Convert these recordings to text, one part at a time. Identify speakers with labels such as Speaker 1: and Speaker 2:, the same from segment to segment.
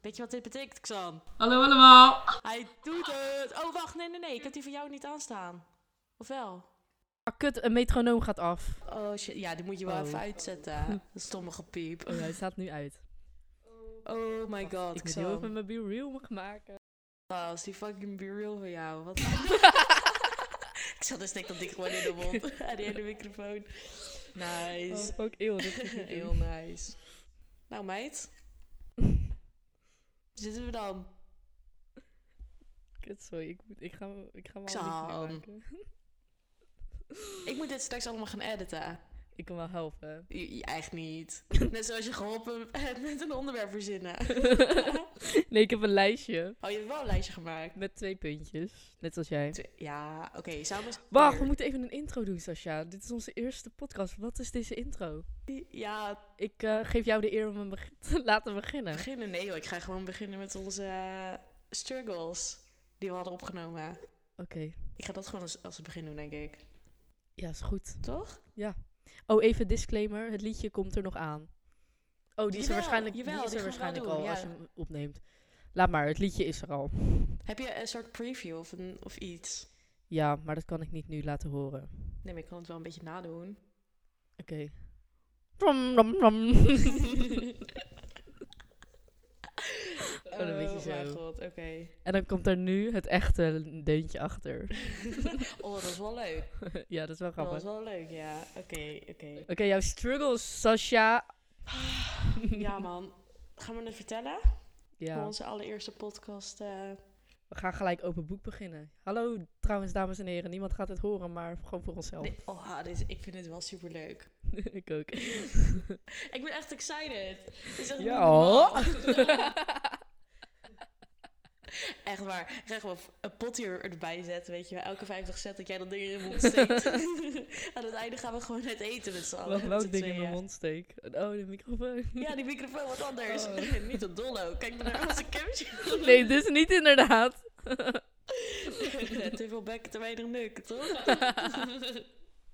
Speaker 1: Weet je wat dit betekent, Xan?
Speaker 2: Hallo allemaal.
Speaker 1: Hij doet het! Oh, wacht, nee, nee, nee. Ik heb die van jou niet aanstaan. Of wel?
Speaker 3: Ah, kut, een metronoom gaat af.
Speaker 1: Oh, shit. Ja, die moet je wel
Speaker 3: Oh.
Speaker 1: even uitzetten. Dat stomme gepiep.
Speaker 3: Oh, hij staat nu uit.
Speaker 1: Oh my god,
Speaker 3: ik
Speaker 1: ik
Speaker 3: moet heel even
Speaker 1: Xan.
Speaker 3: mijn reel mag maken.
Speaker 1: Als die fucking bureau van jou. Wat... Xan is denk dat ik gewoon in de mond. En die hele microfoon.
Speaker 3: Oh,
Speaker 1: Nice.
Speaker 3: fuck, eeuw, dit moet ik niet
Speaker 1: Heel
Speaker 3: doen.
Speaker 1: nice. Nou, meid. Zitten we dan?
Speaker 3: Kut, sorry, ik, moet, ik ga, ik ga me
Speaker 1: Xan.
Speaker 3: al niet meer maken.
Speaker 1: Ik moet dit straks allemaal gaan editen.
Speaker 3: Ik kan wel helpen.
Speaker 1: Je- je- Echt niet. Net zoals je geholpen hebt met een onderwerp verzinnen.
Speaker 3: nee, ik heb een lijstje
Speaker 1: Oh, je hebt wel een lijstje gemaakt.
Speaker 3: met twee puntjes. Net als jij.
Speaker 1: Tw- Ja, oké, samen...
Speaker 3: Wacht, we moeten even een intro doen, Sasha. Dit is onze eerste podcast. Wat is deze intro?
Speaker 1: Ja,
Speaker 3: Ik eh, geef jou de eer om hem beg- te laten beginnen.
Speaker 1: beginnen. Nee joh, ik ga gewoon beginnen met onze eh, struggles die we hadden opgenomen.
Speaker 3: Oké,
Speaker 1: Ik ga dat gewoon als, als het begin doen, denk ik.
Speaker 3: ja, is goed.
Speaker 1: Toch?
Speaker 3: Oh, even disclaimer. Het liedje komt er nog aan. Oh, die is
Speaker 1: Jawel,
Speaker 3: er waarschijnlijk,
Speaker 1: jawel,
Speaker 3: die is
Speaker 1: die
Speaker 3: er
Speaker 1: gaan we wel
Speaker 3: waarschijnlijk
Speaker 1: doen,
Speaker 3: al
Speaker 1: ja.
Speaker 3: als je hem opneemt. Laat maar, het liedje is er al.
Speaker 1: Heb je een soort preview of, een, of iets?
Speaker 3: Ja, maar dat kan ik niet nu laten horen.
Speaker 1: Nee, maar ik kan het wel een beetje nadoen.
Speaker 3: Oké. Rom, rom, rom. Oh, Gewoon een beetje
Speaker 1: Oh, mijn
Speaker 3: zo.
Speaker 1: god, oké.
Speaker 3: En dan komt er nu het echte deuntje achter.
Speaker 1: Oh, dat is wel leuk.
Speaker 3: ja, dat is wel
Speaker 1: Dat
Speaker 3: grappig.
Speaker 1: is wel leuk, ja. Oké, oké.
Speaker 3: Oké, jouw struggles, Sasha.
Speaker 1: Ja man, gaan we het vertellen? Voor
Speaker 3: Ja,
Speaker 1: onze allereerste podcast. eh,
Speaker 3: we gaan gelijk open boek beginnen. Hallo, trouwens, dames en heren. Niemand gaat het horen, maar gewoon voor onszelf.
Speaker 1: nee, oh, dit is- ik vind het wel super leuk.
Speaker 3: ik ook.
Speaker 1: Ik ben echt excited. Dit is echt
Speaker 3: Ja,
Speaker 1: niet normaal.
Speaker 3: hoor.
Speaker 1: Echt waar. Ik ga gewoon een pot hier erbij zetten, weet je wel. Elke 50 cent dat jij dat ding in je mond steekt. Aan het einde gaan we gewoon uit eten met z'n allen.
Speaker 3: Wat
Speaker 1: met z'n
Speaker 3: welk ding in
Speaker 1: tweeën.
Speaker 3: mijn mond steek? Oh, de microfoon.
Speaker 1: Ja, die microfoon wat anders.
Speaker 3: Oh.
Speaker 1: niet een dollo. Kijk maar naar onze camera.
Speaker 3: Nee, dit is niet inderdaad.
Speaker 1: te veel bekken, te weinig neuken, toch?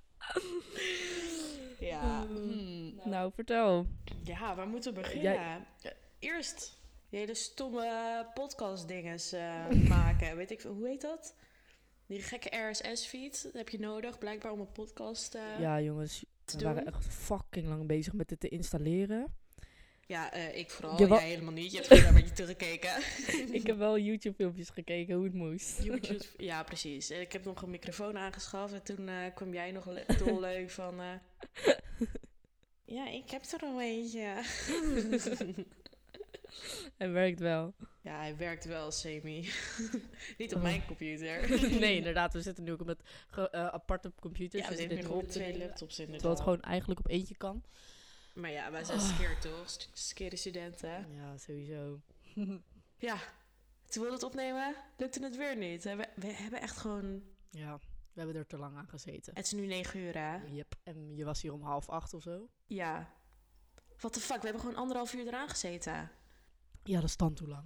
Speaker 1: ja. hmm.
Speaker 3: Nou, vertel.
Speaker 1: Ja, waar moeten we beginnen? Eh, Eerst die hele stomme podcast-dinges eh, maken. Weet ik, veel- hoe heet dat? Die gekke RSS-feed dat heb je nodig, blijkbaar om een podcast eh,
Speaker 3: Ja, jongens.
Speaker 1: te
Speaker 3: We
Speaker 1: doen.
Speaker 3: waren echt fucking lang bezig met dit te installeren.
Speaker 1: Ja, eh, ik vooral.
Speaker 3: Je wa-
Speaker 1: Jij helemaal niet. Je hebt gewoon een beetje teruggekeken.
Speaker 3: ik heb wel YouTube-filmpjes gekeken hoe het moest.
Speaker 1: YouTube, ja, precies. En Ik heb nog een microfoon aangeschaft en toen eh, kwam jij nog le- dol leuk van... eh, ja, ik heb er een eentje.
Speaker 3: Het werkt wel.
Speaker 1: ja, hij werkt wel, semi. niet op
Speaker 3: Oh.
Speaker 1: mijn computer.
Speaker 3: nee, inderdaad. We zitten nu ook met ge- eh, aparte computers.
Speaker 1: ja, we
Speaker 3: dus
Speaker 1: zitten
Speaker 3: dit
Speaker 1: nu
Speaker 3: op
Speaker 1: op
Speaker 3: te
Speaker 1: twee
Speaker 3: nemen.
Speaker 1: laptops
Speaker 3: Terwijl
Speaker 1: inderdaad.
Speaker 3: het gewoon eigenlijk op eentje kan.
Speaker 1: Maar ja, wij zijn skeer toch? St- Skeerde studenten.
Speaker 3: Ja, sowieso.
Speaker 1: Ja, toen wilden we het opnemen, lukte het weer niet. We, we hebben echt gewoon...
Speaker 3: Ja, we hebben er te lang aan gezeten.
Speaker 1: Het is nu negen uur, hè?
Speaker 3: Yep. En je was hier om half acht of zo.
Speaker 1: Ja. What the fuck, we hebben gewoon anderhalf uur eraan gezeten.
Speaker 3: Ja, dat is dan toe lang.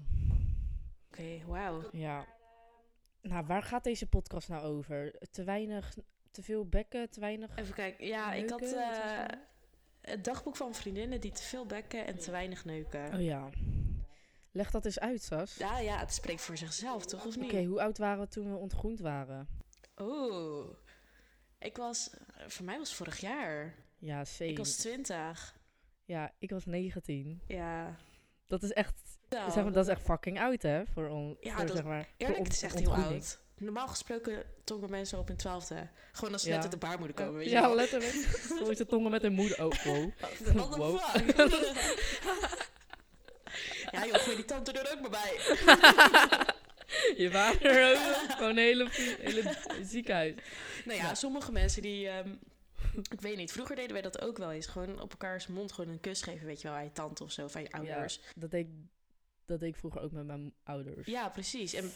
Speaker 1: Oké, wauw.
Speaker 3: Ja. Nou, waar gaat deze podcast nou over? Te weinig, te veel bekken, te weinig.
Speaker 1: Even kijken. Ja, ik had
Speaker 3: Neuken, wat was
Speaker 1: eh,
Speaker 3: het nou?
Speaker 1: het dagboek van vriendinnen die te veel bekken en te weinig neuken.
Speaker 3: Oh ja. Leg dat eens uit, Sas.
Speaker 1: Ja, ja, het spreekt voor zichzelf, toch? Of
Speaker 3: Oké,
Speaker 1: niet?
Speaker 3: hoe oud waren we toen we ontgroend waren?
Speaker 1: Oeh. Ik was... eh, Voor mij was vorig jaar.
Speaker 3: Ja,
Speaker 1: Ik
Speaker 3: zeker.
Speaker 1: was twintig.
Speaker 3: Ja, ik was 19.
Speaker 1: Ja.
Speaker 3: Dat is echt,
Speaker 1: Nou,
Speaker 3: zeg maar, dat is echt fucking oud, hè? Voor ons.
Speaker 1: Ja,
Speaker 3: voor,
Speaker 1: dat-
Speaker 3: zeg maar, voor
Speaker 1: eerlijk, het
Speaker 3: ont-
Speaker 1: is echt heel
Speaker 3: ontgroening.
Speaker 1: oud. Normaal gesproken tongen mensen op in twaalfde. Gewoon als ze
Speaker 3: Ja.
Speaker 1: net uit de baarmoeder komen, weet je
Speaker 3: ja,
Speaker 1: wel.
Speaker 3: letterlijk. Voor de tongen met een moeder. Oh, wow.
Speaker 1: What the
Speaker 3: Wow.
Speaker 1: fuck? ja joh, gooi die tante er ook maar bij.
Speaker 3: Je waren er ook. Gewoon een hele, hele ziekenhuis.
Speaker 1: Nou ja, sommige mensen die. ehm, ik weet niet, vroeger deden wij dat ook wel eens. Gewoon op elkaars mond gewoon een kus geven, weet je wel, aan je tante of zo, van je ouders. Ja,
Speaker 3: Dat deed, ik- dat deed ik vroeger ook met mijn ouders.
Speaker 1: precies. En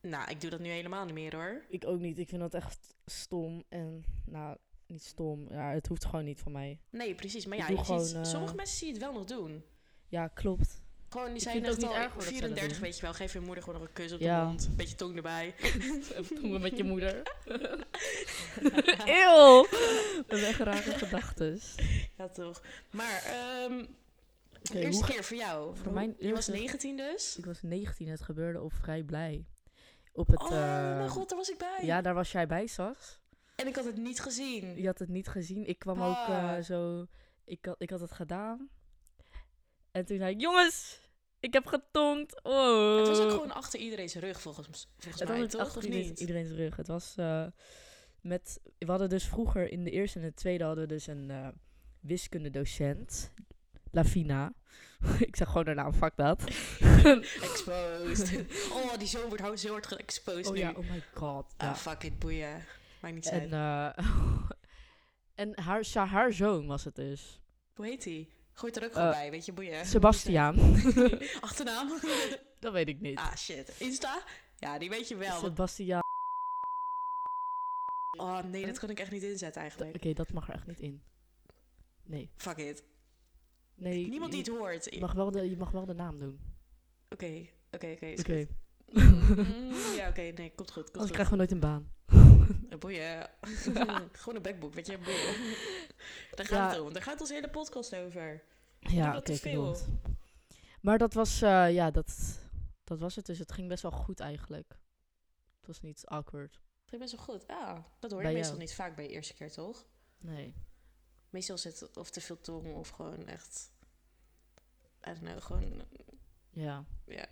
Speaker 1: nou, ik doe dat nu helemaal niet meer hoor.
Speaker 3: Ik ook niet. Ik vind dat echt stom. En nou, niet stom. Ja, het hoeft gewoon niet van mij.
Speaker 1: Nee, precies. Maar
Speaker 3: Ik
Speaker 1: ja,
Speaker 3: doe
Speaker 1: je
Speaker 3: gewoon,
Speaker 1: ziet,
Speaker 3: eh,
Speaker 1: sommige mensen zie je het wel nog doen.
Speaker 3: Ja, klopt.
Speaker 1: Gewoon, die
Speaker 3: Ik
Speaker 1: zijn
Speaker 3: vind het
Speaker 1: echt
Speaker 3: ook niet
Speaker 1: al
Speaker 3: erg hoor dat zij dat
Speaker 1: 34,
Speaker 3: doen.
Speaker 1: weet je wel. Geef je moeder gewoon nog een kus op
Speaker 3: Ja.
Speaker 1: de mond. Een beetje tong erbij.
Speaker 3: Doen we met je moeder. Eeuw! We hebben echt rare gedachten.
Speaker 1: Ja, toch. Maar, ehm, De
Speaker 3: hoe
Speaker 1: eerste
Speaker 3: ge-
Speaker 1: keer voor jou.
Speaker 3: Voor mijn
Speaker 1: Je was
Speaker 3: eerste-
Speaker 1: 19 dus.
Speaker 3: Ik was 19, het gebeurde op Vrij Blij. Op het,
Speaker 1: oh
Speaker 3: eh,
Speaker 1: mijn god, daar was ik bij.
Speaker 3: Ja, daar was jij bij, Sas.
Speaker 1: En ik had het niet gezien.
Speaker 3: Je had het niet gezien. Ik kwam ook eh,
Speaker 1: Ah.
Speaker 3: zo... Ik had, ik had het gedaan. En toen zei ik, jongens, ik heb getonkt. Oh.
Speaker 1: Het was ook gewoon achter iedereen's rug volgens, volgens
Speaker 3: Het
Speaker 1: mij,
Speaker 3: was ook
Speaker 1: toch?
Speaker 3: achter
Speaker 1: Of
Speaker 3: iedereen,
Speaker 1: niet?
Speaker 3: iedereen's rug. Het was eh, met... We hadden dus vroeger in de eerste en de tweede hadden we dus een eh, wiskundedocent. Lavina. ik zeg gewoon haar naam, fuck dat.
Speaker 1: Exposed. oh, die zoon wordt hou- zo hard geëxposed
Speaker 3: oh
Speaker 1: nu.
Speaker 3: ja, oh my god.
Speaker 1: Ah,
Speaker 3: ja.
Speaker 1: fuck it, boeien. Maakt niet
Speaker 3: En,
Speaker 1: uit.
Speaker 3: eh, en haar, sa- haar zoon was het dus.
Speaker 1: Hoe heet die? Gooit er ook gewoon
Speaker 3: Eh,
Speaker 1: bij, weet je, boeien.
Speaker 3: Sebastiaan.
Speaker 1: Achternaam?
Speaker 3: dat weet ik niet.
Speaker 1: ah, shit. Insta? Ja, die weet je wel. want-
Speaker 3: Sebastiaan.
Speaker 1: Oh nee, dat kan ik echt niet inzetten
Speaker 3: Oké,
Speaker 1: eigenlijk.
Speaker 3: dat mag er echt niet in. Nee.
Speaker 1: Fuck it.
Speaker 3: nee
Speaker 1: Niemand die het hoort.
Speaker 3: je
Speaker 1: I- Oké,
Speaker 3: mag, wel de, je mag wel de naam doen.
Speaker 1: oké, oké. is
Speaker 3: Oké.
Speaker 1: goed. Mm, Ja, oké, nee, komt goed. Komt
Speaker 3: Anders
Speaker 1: goed.
Speaker 3: krijgen we nooit een baan.
Speaker 1: Eh, Boeien. Gewoon een backbook, weet je, boeien. Daar gaat
Speaker 3: Ja.
Speaker 1: het om. Daar gaat onze hele podcast over.
Speaker 3: Ja,
Speaker 1: dat
Speaker 3: oké,
Speaker 1: te veel.
Speaker 3: klopt. Maar dat was, eh, ja, dat, dat was het dus. Het ging best wel goed eigenlijk. Het was niet awkward.
Speaker 1: Dat is best wel goed. Ah, dat hoor je
Speaker 3: Bij
Speaker 1: meestal
Speaker 3: jou.
Speaker 1: niet vaak bij je eerste keer, toch?
Speaker 3: Nee.
Speaker 1: Meestal zit het of te veel tong of gewoon echt... I don't know, gewoon...
Speaker 3: Ja.
Speaker 1: Ja.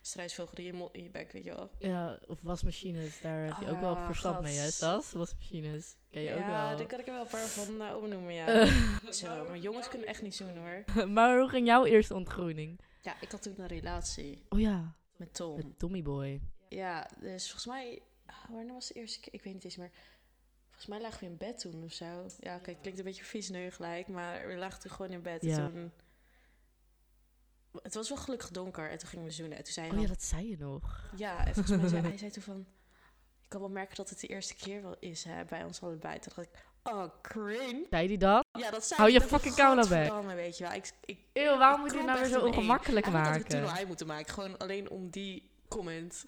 Speaker 1: Struisvogel in je, mond- in je bek, weet je wel.
Speaker 3: Ja, of wasmachines, daar heb je ook wel
Speaker 1: Ah,
Speaker 3: verstand mee, hè,
Speaker 1: gats.
Speaker 3: Stas? Wasmachines. Ken je ook
Speaker 1: ja,
Speaker 3: wel.
Speaker 1: daar kan ik er wel een paar van eh, opnoemen, ja. Zo, maar jongens kunnen echt niet zoenen, hoor.
Speaker 3: maar hoe ging jouw eerste ontgroening?
Speaker 1: Ja, ik had toen een relatie
Speaker 3: Oh ja,
Speaker 1: met Tom.
Speaker 3: met Tommy Boy.
Speaker 1: Ja, dus volgens mij... ah, Wanneer was de eerste keer? Ik weet niet eens meer. Volgens mij lagen we in bed toen of zo. Ja, kijk, klinkt een beetje vies nu gelijk, maar we lagen toen gewoon in bed.
Speaker 3: Ja.
Speaker 1: En toen... Het was wel gelukkig donker en toen gingen we zoenen. En toen zei hij
Speaker 3: Oh ja,
Speaker 1: van-
Speaker 3: dat zei je nog.
Speaker 1: ja, en volgens mij zei hij zei toen van... Ik kan wel merken dat het de eerste keer wel is hè, bij ons allebei. Toen dacht ik, oh, cringe.
Speaker 3: Zei die dat?
Speaker 1: Ja, dat zei
Speaker 3: Hou
Speaker 1: ik.
Speaker 3: je
Speaker 1: Ik dacht,
Speaker 3: fucking camera weg.
Speaker 1: "Godverdamme, weet je wel. Ik, ik,
Speaker 3: Eeuw,
Speaker 1: Ik
Speaker 3: waarom moet je
Speaker 1: klap
Speaker 3: het nou weer
Speaker 1: echt
Speaker 3: zo
Speaker 1: in één.
Speaker 3: ongemakkelijk
Speaker 1: eigenlijk had ik toen al
Speaker 3: maken?
Speaker 1: uit moeten maken. Gewoon alleen om die comment,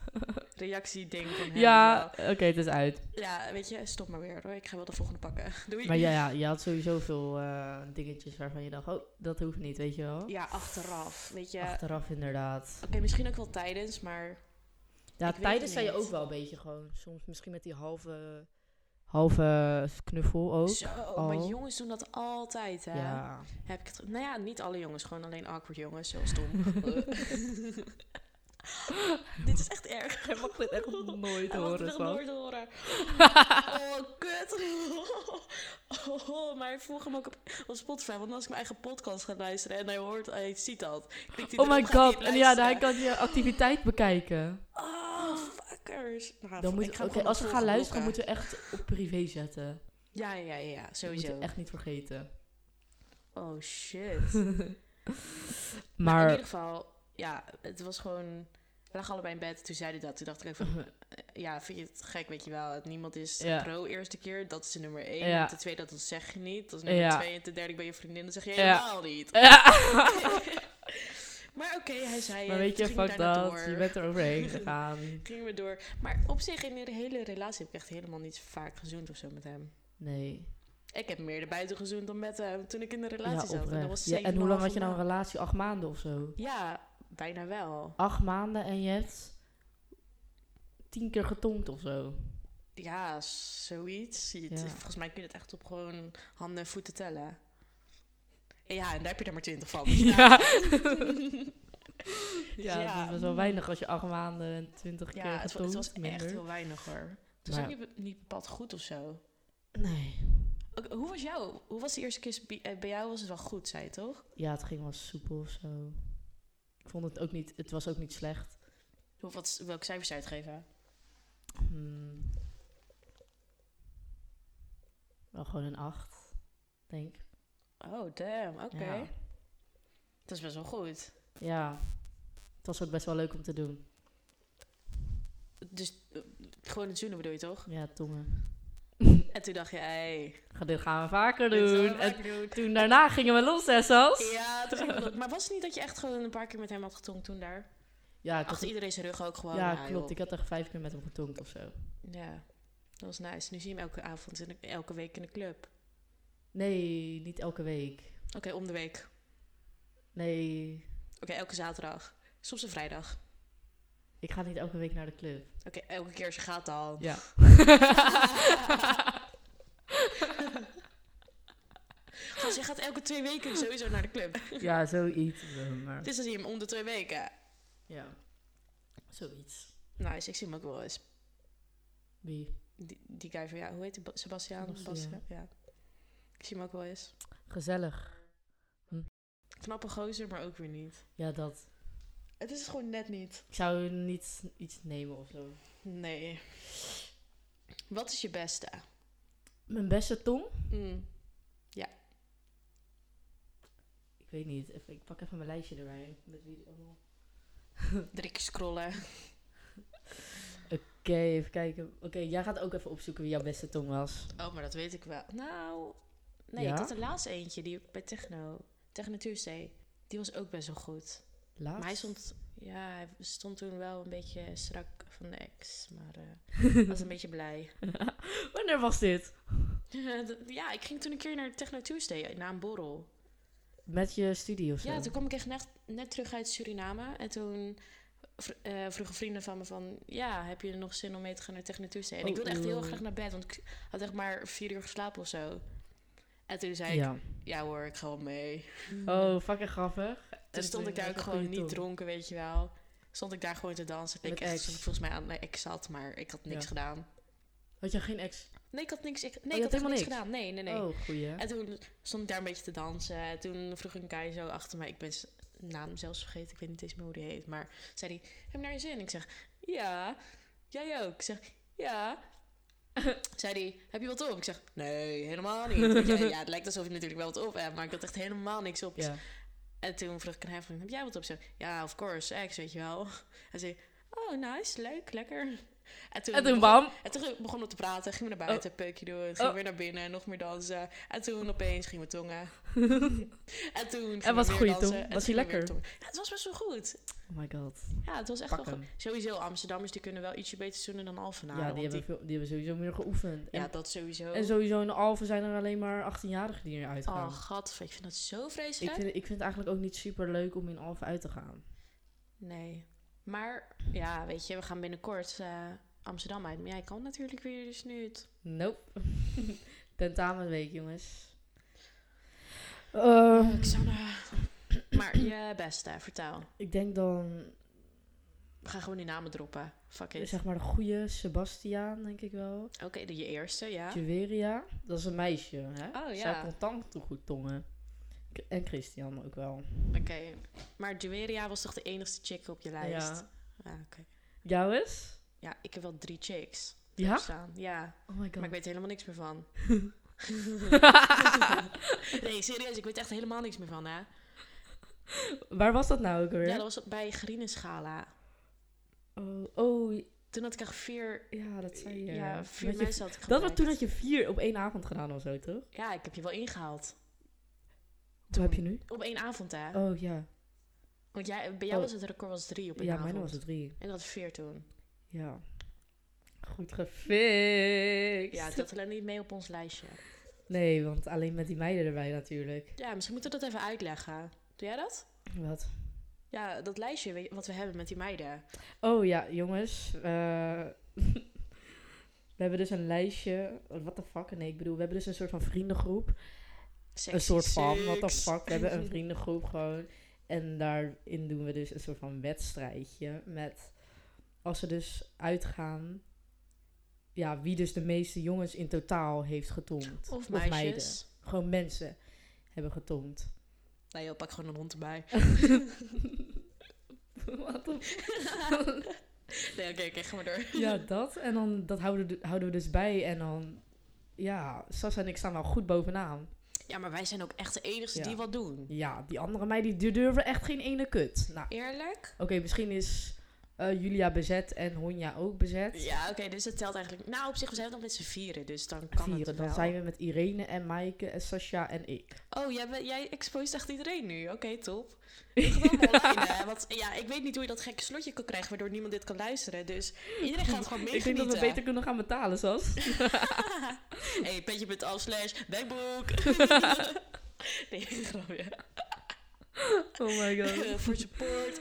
Speaker 1: reactie, ding van hem.
Speaker 3: Ja,
Speaker 1: wel.
Speaker 3: oké, het is uit.
Speaker 1: Ja, weet je, stop maar weer hoor. Ik ga wel de volgende pakken. Doei.
Speaker 3: Maar ja, ja, je had sowieso veel eh, dingetjes waarvan je dacht, oh, dat hoeft niet, weet je wel?
Speaker 1: Ja, achteraf, weet je.
Speaker 3: Achteraf inderdaad.
Speaker 1: Oké, misschien ook wel tijdens, maar...
Speaker 3: Ja,
Speaker 1: Ik weet
Speaker 3: tijdens
Speaker 1: het
Speaker 3: zei je
Speaker 1: niet.
Speaker 3: ook wel een beetje gewoon. Soms misschien met die halve, halve knuffel ook.
Speaker 1: Zo, maar
Speaker 3: al.
Speaker 1: jongens doen dat altijd, hè.
Speaker 3: Ja.
Speaker 1: Heb ik het... Nou ja, niet alle jongens, gewoon alleen awkward jongens, zoals Tom. Dit is echt erg.
Speaker 3: Hij mag dit echt nooit
Speaker 1: Hij mag het
Speaker 3: horen,
Speaker 1: nog
Speaker 3: zo.
Speaker 1: nooit horen. Oh, kut. Oh, maar hij vroeg hem ook op, op Spotify. Want als ik mijn eigen podcast ga luisteren en hij hoort, hij ziet dat. Klikt hij
Speaker 3: Oh
Speaker 1: erop,
Speaker 3: my
Speaker 1: gaat hij
Speaker 3: god,
Speaker 1: het
Speaker 3: en ja, hij
Speaker 1: luisteren.
Speaker 3: kan je activiteit bekijken.
Speaker 1: Oh, fuckers. Nou,
Speaker 3: Dan
Speaker 1: ik
Speaker 3: moet,
Speaker 1: ga hem
Speaker 3: oké,
Speaker 1: gewoon op
Speaker 3: als we gaan
Speaker 1: volgen
Speaker 3: luisteren,
Speaker 1: blokken.
Speaker 3: moeten we echt op privé zetten.
Speaker 1: Ja, ja, ja, ja,
Speaker 3: Dat moeten
Speaker 1: sowieso.
Speaker 3: we echt niet vergeten.
Speaker 1: Oh, shit. maar... in
Speaker 3: Maar,
Speaker 1: ieder geval, ja, het was gewoon... We lagen allebei in bed, toen zei hij dat. Toen dacht ik ook van, ja, vind je het gek, weet je wel. dat Niemand is
Speaker 3: Ja.
Speaker 1: pro eerste keer, dat is de nummer één.
Speaker 3: Ja.
Speaker 1: De tweede, dat zeg je niet. Dat is nummer
Speaker 3: Ja.
Speaker 1: twee. En ten derde bij je vriendin, dat zeg je
Speaker 3: Ja.
Speaker 1: helemaal niet.
Speaker 3: ja.
Speaker 1: maar oké, hij zei
Speaker 3: maar
Speaker 1: het,
Speaker 3: weet je,
Speaker 1: toen
Speaker 3: fuck
Speaker 1: gingen we daarna
Speaker 3: dat,
Speaker 1: door.
Speaker 3: je bent er overheen gegaan.
Speaker 1: Gingen we door. Maar op zich, in de hele relatie heb ik echt helemaal niet vaak gezoend of zo met hem.
Speaker 3: Nee.
Speaker 1: Ik heb meer erbuiten gezoend dan met hem toen ik in de
Speaker 3: Ja,
Speaker 1: relatie zat. En, dat
Speaker 3: oprecht.
Speaker 1: was
Speaker 3: Ja, en hoe
Speaker 1: 7,5
Speaker 3: lang had je nou een
Speaker 1: maand.
Speaker 3: relatie? Acht maanden of zo?
Speaker 1: Ja, bijna wel.
Speaker 3: acht maanden en je hebt tien keer getonkt of zo.
Speaker 1: Ja, zoiets. Je-
Speaker 3: Ja.
Speaker 1: Volgens mij kun je het echt op gewoon handen en voeten tellen. En ja, en daar heb je er maar twintig van. Dus ja.
Speaker 3: ja,
Speaker 1: Ja. mm.
Speaker 3: dat is wel weinig als je acht maanden en twintig
Speaker 1: Ja,
Speaker 3: keer
Speaker 1: het,
Speaker 3: getonkt.
Speaker 1: wa- het was
Speaker 3: minder.
Speaker 1: echt heel weinig hoor. Het was
Speaker 3: Maar-
Speaker 1: ook niet, be- niet bepaald goed of zo.
Speaker 3: Nee.
Speaker 1: Oké, hoe was jou? Hoe was de eerste keer bij- eh, bij jou? Was het wel goed, zei je toch?
Speaker 3: Ja, het ging wel soepel of zo. Ik vond het ook niet, het was ook niet slecht.
Speaker 1: Hoe, wat, welk cijfer zou je het geven?
Speaker 3: Hmm. Wel gewoon een acht, denk ik.
Speaker 1: Oh, damn. Oké.
Speaker 3: Ja.
Speaker 1: Dat is best wel goed.
Speaker 3: ja. Het was ook best wel leuk om te doen.
Speaker 1: Dus eh, gewoon het zoenen bedoel je toch?
Speaker 3: Ja, tongen.
Speaker 1: En toen dacht je, hé,
Speaker 3: Ga- Dit gaan we vaker
Speaker 1: dit zullen we
Speaker 3: doen. En
Speaker 1: vaker doen.
Speaker 3: toen daarna gingen we los, hè, Sas?
Speaker 1: Ja, toen ging ik dat- maar was het niet dat je echt gewoon een paar keer met hem had getonkt toen daar?
Speaker 3: Ja, ik had
Speaker 1: Achter iedereen zijn rug ook gewoon.
Speaker 3: ja,
Speaker 1: ah,
Speaker 3: klopt.
Speaker 1: joh.
Speaker 3: Ik had echt vijf keer met hem getonkt of zo.
Speaker 1: Ja, dat was nice. Nu zie je hem elke avond, in de- elke week in de club.
Speaker 3: Nee, niet elke week.
Speaker 1: Oké, om de week.
Speaker 3: Nee,
Speaker 1: Oké, elke zaterdag. Soms een vrijdag.
Speaker 3: ik ga niet elke week naar de club.
Speaker 1: Oké, elke keer als je gaat dan.
Speaker 3: Ja.
Speaker 1: Gast, je gaat elke twee weken sowieso naar de club.
Speaker 3: ja, zoiets. eh, Maar,
Speaker 1: Het is dat je hem om de twee weken.
Speaker 3: ja. Zoiets.
Speaker 1: Nice, ik zie hem ook wel eens.
Speaker 3: Wie?
Speaker 1: Die, die guy van ja, hoe heet hij? Ba- Sebastiaan of
Speaker 3: Sebastiaan.
Speaker 1: Bastiaan? Ja. Ik zie hem ook wel eens.
Speaker 3: Gezellig.
Speaker 1: Knappe gozer, maar ook weer niet.
Speaker 3: Ja, dat.
Speaker 1: Het is gewoon net niet.
Speaker 3: Ik zou niet iets nemen of zo.
Speaker 1: Nee. Wat is je beste?
Speaker 3: Mijn beste tong?
Speaker 1: Mm.
Speaker 3: Ik weet niet. Even, ik pak even mijn lijstje erbij. Met wie die allemaal...
Speaker 1: Drie keer scrollen.
Speaker 3: Oké, even kijken. Oké, jij gaat ook even opzoeken wie jouw beste tong was.
Speaker 1: Oh, maar dat weet ik wel. Nou, nee,
Speaker 3: Ja?
Speaker 1: ik had de laatste eentje die bij Techno, Techno Tuesday. Die was ook best wel goed.
Speaker 3: Laatst.
Speaker 1: Maar hij stond, ja, hij stond toen wel een beetje strak van de ex, maar eh, was een beetje blij.
Speaker 3: Wanneer was dit?
Speaker 1: ja, ik ging toen een keer naar Techno Tuesday na een borrel.
Speaker 3: Met je studie of zo?
Speaker 1: Ja, toen kwam ik echt net, net terug uit Suriname en toen vr- eh, vroegen vrienden van me van, ja, heb je nog zin om mee te gaan naar Techno Tuesday? En ik
Speaker 3: Oh,
Speaker 1: wilde echt heel
Speaker 3: oeh.
Speaker 1: graag naar bed, want ik had echt maar vier uur geslapen of zo. En toen zei ik,
Speaker 3: Ja.
Speaker 1: ja hoor, ik ga wel mee.
Speaker 3: Oh, fucking grappig.
Speaker 1: Toen stond ik daar ook gewoon niet dronken, weet je wel. Stond ik daar gewoon te dansen. Ik
Speaker 3: Met
Speaker 1: denk echt
Speaker 3: ex.
Speaker 1: alsof ik volgens mij aan mijn ex zat, maar ik had niks
Speaker 3: Ja.
Speaker 1: gedaan.
Speaker 3: Had jij geen ex?
Speaker 1: Nee, ik had niks, ik, nee,
Speaker 3: je
Speaker 1: ik
Speaker 3: had
Speaker 1: had echt
Speaker 3: helemaal
Speaker 1: niks
Speaker 3: niks?
Speaker 1: gedaan. Nee, nee, nee.
Speaker 3: Oh, goeie.
Speaker 1: En toen stond ik daar een beetje te dansen. En Toen vroeg een guy zo achter mij, ik ben zijn naam zelfs vergeten, ik weet niet eens meer hoe die heet. Maar zei hij, heb je naar je zin? Ik zeg, ja. Jij ook? Ik zeg, ja. Zei hij, heb je wat op? Ik zeg, nee, helemaal niet. Weet je, ja, het lijkt alsof je natuurlijk wel wat op hebt, maar ik had echt helemaal niks op.
Speaker 3: Ja.
Speaker 1: En toen vroeg ik aan hem, van, heb jij wat op? Ze zei, ja, of course, ex, weet je wel. Hij zei, oh, nice, leuk, lekker. En toen,
Speaker 3: En toen
Speaker 1: begon,
Speaker 3: bam.
Speaker 1: en toen begonnen we te praten, gingen we naar buiten, peukje doen, gingen
Speaker 3: Oh.
Speaker 1: weer naar binnen, nog meer dansen. En toen opeens gingen we tongen. en toen gingen
Speaker 3: En was
Speaker 1: we
Speaker 3: een
Speaker 1: weer
Speaker 3: goede
Speaker 1: dansen,
Speaker 3: tong?
Speaker 1: en toen gingen we
Speaker 3: Was hij
Speaker 1: weer
Speaker 3: lekker?
Speaker 1: tongen. Ja, het was best wel goed.
Speaker 3: Oh my god.
Speaker 1: Ja, het was echt
Speaker 3: Pak
Speaker 1: wel
Speaker 3: hem.
Speaker 1: goed. Sowieso, Amsterdammers die kunnen wel ietsje beter zoenen dan Alphenaren.
Speaker 3: ja, die
Speaker 1: Nou, want
Speaker 3: hebben, veel, die hebben sowieso meer geoefend.
Speaker 1: die-
Speaker 3: En,
Speaker 1: ja, dat sowieso.
Speaker 3: en sowieso in de Alphen zijn er alleen maar 18-jarigen die eruit gaan.
Speaker 1: oh, gat, ik vind dat zo
Speaker 3: ik,
Speaker 1: vreselijk.
Speaker 3: vind, ik vind het eigenlijk ook niet super leuk om in Alphen uit te gaan.
Speaker 1: Nee. Maar ja, weet je, we gaan binnenkort eh, Amsterdam uit. Maar jij kan natuurlijk weer, dus nu het.
Speaker 3: Nope. Tentamenweek, jongens.
Speaker 1: Eh,
Speaker 3: Ehm,
Speaker 1: Xanne. Maar je beste, vertel.
Speaker 3: ik denk dan,
Speaker 1: We gaan gewoon die namen droppen. Fuck it.
Speaker 3: zeg maar, de goede Sebastiaan, denk ik wel.
Speaker 1: Oké, doe je eerste, ja.
Speaker 3: Juweria, dat is een meisje, hè?
Speaker 1: Oh, ja.
Speaker 3: Zij kon tang toe goed tongen. K- En Christian ook wel.
Speaker 1: Oké. Maar Juweria was toch de enigste chick op je lijst?
Speaker 3: Ja.
Speaker 1: Ah, oké.
Speaker 3: Jou eens?
Speaker 1: Ja, ik heb wel drie chicks.
Speaker 3: Ja?
Speaker 1: Staan. Ja,
Speaker 3: Oh my god.
Speaker 1: maar ik weet er helemaal niks meer van. nee, serieus, ik weet echt helemaal niks meer van, hè?
Speaker 3: Waar was dat nou ook alweer?
Speaker 1: Ja, dat was bij Grienenschala.
Speaker 3: oh, oh,
Speaker 1: Toen had ik echt vier
Speaker 3: ja, dat zei je.
Speaker 1: Ja, vier
Speaker 3: Dat je-
Speaker 1: mensen had ik
Speaker 3: Dat was toen
Speaker 1: dat
Speaker 3: dat je vier op één avond gedaan of zo, toch?
Speaker 1: Ja, ik heb je wel ingehaald.
Speaker 3: Toen heb je nu?
Speaker 1: Op één avond, hè?
Speaker 3: Oh ja.
Speaker 1: Want jij, bij jou
Speaker 3: Oh.
Speaker 1: was het record was drie op één
Speaker 3: Ja,
Speaker 1: avond.
Speaker 3: mijn was het drie.
Speaker 1: En dat vier toen.
Speaker 3: Ja. Goed gefixt.
Speaker 1: Ja, dat alleen niet mee op ons lijstje.
Speaker 3: Nee, want alleen met die meiden erbij natuurlijk.
Speaker 1: Ja, misschien moeten we dat even uitleggen. Doe jij dat?
Speaker 3: Wat?
Speaker 1: Ja, dat lijstje weet je, wat we hebben met die meiden.
Speaker 3: Oh ja, jongens. eh, we hebben dus een lijstje. What the fuck? Nee, ik bedoel, we hebben dus een soort van vriendengroep.
Speaker 1: Sexy
Speaker 3: een soort van,
Speaker 1: six.
Speaker 3: what the fuck. We hebben een vriendengroep gewoon. En daarin doen we dus een soort van wedstrijdje met... Als ze dus uitgaan... Ja, wie dus de meeste jongens in totaal heeft getongd.
Speaker 1: Of meisjes.
Speaker 3: Gewoon mensen hebben getongd.
Speaker 1: nou joh, pak gewoon een hond erbij.
Speaker 3: What the
Speaker 1: Nee, oké, oké, ga maar door.
Speaker 3: Ja, dat. En dan dat houden, we- houden we dus bij. En dan, ja, Sas en ik staan wel goed bovenaan.
Speaker 1: Ja, maar wij zijn ook echt de enigste
Speaker 3: Ja.
Speaker 1: die wat doen.
Speaker 3: Ja, die andere meiden die durven echt geen ene kut. Nou,
Speaker 1: Eerlijk?
Speaker 3: oké, misschien is eh, Julia bezet en Honja ook bezet.
Speaker 1: Ja, oké, dus dat telt eigenlijk... Nou, op zich, we zijn het nog met z'n vieren, dus dan kan
Speaker 3: Vieren.
Speaker 1: het
Speaker 3: Dan
Speaker 1: wel.
Speaker 3: zijn we met Irene en Maaike en Sascha en ik.
Speaker 1: Oh, jij, bent- jij exposeert echt iedereen nu. Oké, top. Ik ga het allemaal online, hè, Want ja, ik weet niet hoe je dat gekke slotje kan krijgen... waardoor niemand dit kan luisteren. Dus iedereen gaat gewoon
Speaker 3: Ik denk dat we
Speaker 1: meegenieten.
Speaker 3: beter kunnen gaan betalen, Sas.
Speaker 1: hey, petje.al slash backbook. nee, grapje.
Speaker 3: Oh my god.
Speaker 1: eh, Voor support.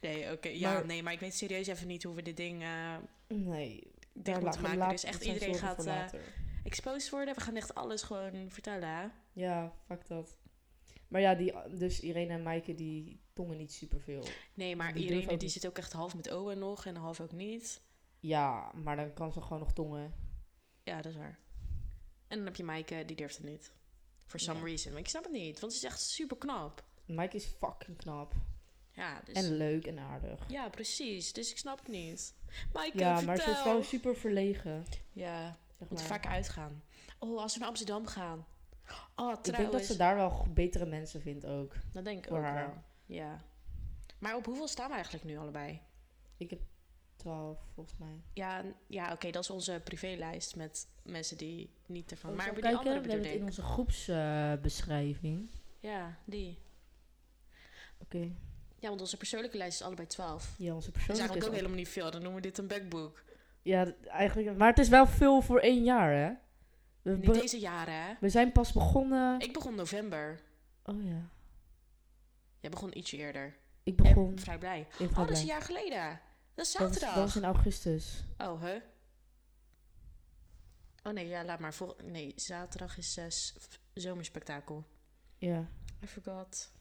Speaker 1: nee, oké. Ja,
Speaker 3: Maar-
Speaker 1: nee, maar ik weet serieus even niet hoe we dit ding eh
Speaker 3: Nee,
Speaker 1: dicht moeten
Speaker 3: laat-
Speaker 1: maken.
Speaker 3: laat-
Speaker 1: dus echt
Speaker 3: dat zijn
Speaker 1: iedereen
Speaker 3: zorgen
Speaker 1: gaat
Speaker 3: voor
Speaker 1: eh,
Speaker 3: later.
Speaker 1: exposed worden. We gaan echt alles gewoon vertellen. hè?
Speaker 3: Ja, fuck dat. Maar ja, die, dus Irene en Maaike die tongen niet superveel.
Speaker 1: Nee, maar
Speaker 3: Die durf
Speaker 1: Irene
Speaker 3: ook
Speaker 1: die
Speaker 3: niet.
Speaker 1: zit ook echt half met Owen nog en half ook niet.
Speaker 3: Ja, maar dan kan ze gewoon nog tongen.
Speaker 1: Ja, dat is waar. En dan heb je Maaike, die durft het niet. For some
Speaker 3: Ja.
Speaker 1: reason. Maar ik snap het niet, want ze is echt super knap.
Speaker 3: Maaike is fucking knap.
Speaker 1: Ja, dus...
Speaker 3: En leuk en aardig.
Speaker 1: ja, precies. Dus ik snap het niet. Maaike,
Speaker 3: ja,
Speaker 1: vertel.
Speaker 3: maar ze is gewoon super verlegen.
Speaker 1: Ja,
Speaker 3: Zeg
Speaker 1: we moeten
Speaker 3: maar.
Speaker 1: vaak uitgaan. Oh, als we naar Amsterdam gaan. Oh,
Speaker 3: Ik denk dat
Speaker 1: trouwens.
Speaker 3: ze daar wel g- betere mensen vindt ook.
Speaker 1: Dat denk ik
Speaker 3: voor
Speaker 1: ook
Speaker 3: haar.
Speaker 1: wel. Ja. Maar op hoeveel staan we eigenlijk nu allebei?
Speaker 3: Ik heb 12 volgens mij.
Speaker 1: Ja, n- ja oké, dat is onze privélijst met mensen die niet ervan... maar
Speaker 3: we
Speaker 1: hebben die
Speaker 3: kijken, we
Speaker 1: andere
Speaker 3: hebben
Speaker 1: bedoel
Speaker 3: het in
Speaker 1: ik.
Speaker 3: onze groepsbeschrijving.
Speaker 1: Ja, die.
Speaker 3: Oké,
Speaker 1: Ja, want onze persoonlijke lijst is allebei 12.
Speaker 3: ja, onze
Speaker 1: Dat is
Speaker 3: persoonlijke
Speaker 1: eigenlijk ook
Speaker 3: is
Speaker 1: helemaal niet veel. Dan noemen we dit een backbook.
Speaker 3: al- Ja, d- eigenlijk. Maar het is wel veel voor één jaar, hè? We,
Speaker 1: Niet
Speaker 3: be-
Speaker 1: deze jaren, hè?
Speaker 3: we zijn pas begonnen.
Speaker 1: Ik begon november.
Speaker 3: Oh ja,
Speaker 1: Jij begon ietsje eerder.
Speaker 3: ik
Speaker 1: En
Speaker 3: begon.
Speaker 1: vrij blij.
Speaker 3: in
Speaker 1: Oh, dat is
Speaker 3: Vlaanderen.
Speaker 1: een jaar geleden. Dat is
Speaker 3: Dat was,
Speaker 1: zaterdag.
Speaker 3: dat was in augustus.
Speaker 1: Oh, hè? Oh nee, ja, laat maar. Vol- nee, zaterdag is eh, zes zomerspektakel.
Speaker 3: Ja.
Speaker 1: I forgot.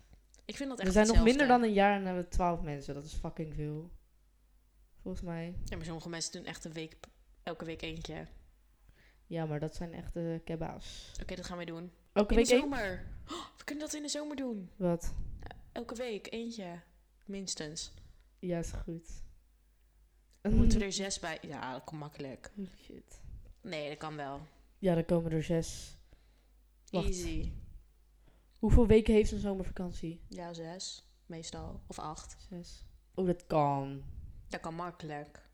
Speaker 1: Ik vind dat echt
Speaker 3: We zijn nog
Speaker 1: hetzelfde.
Speaker 3: minder dan een jaar en hebben we 12 mensen. Dat is fucking veel. Volgens mij.
Speaker 1: Ja, maar sommige mensen doen echt een week, elke week eentje. Oké,
Speaker 3: Ja, maar dat zijn echte kebba's.
Speaker 1: dat gaan wij doen.
Speaker 3: Elke
Speaker 1: in
Speaker 3: week
Speaker 1: de
Speaker 3: één?
Speaker 1: zomer. Oh, we kunnen dat in de zomer doen.
Speaker 3: Wat?
Speaker 1: Elke week eentje. Minstens.
Speaker 3: Ja, is goed.
Speaker 1: We
Speaker 3: Ehm.
Speaker 1: moeten er zes bij. Ja, dat komt makkelijk.
Speaker 3: Holy shit.
Speaker 1: Nee, dat kan wel.
Speaker 3: Ja, dan komen er zes. Wacht.
Speaker 1: Easy.
Speaker 3: Hoeveel weken heeft een zomervakantie?
Speaker 1: Ja, zes. Meestal. Of acht.
Speaker 3: Zes. Oh, dat kan.
Speaker 1: Dat kan makkelijk.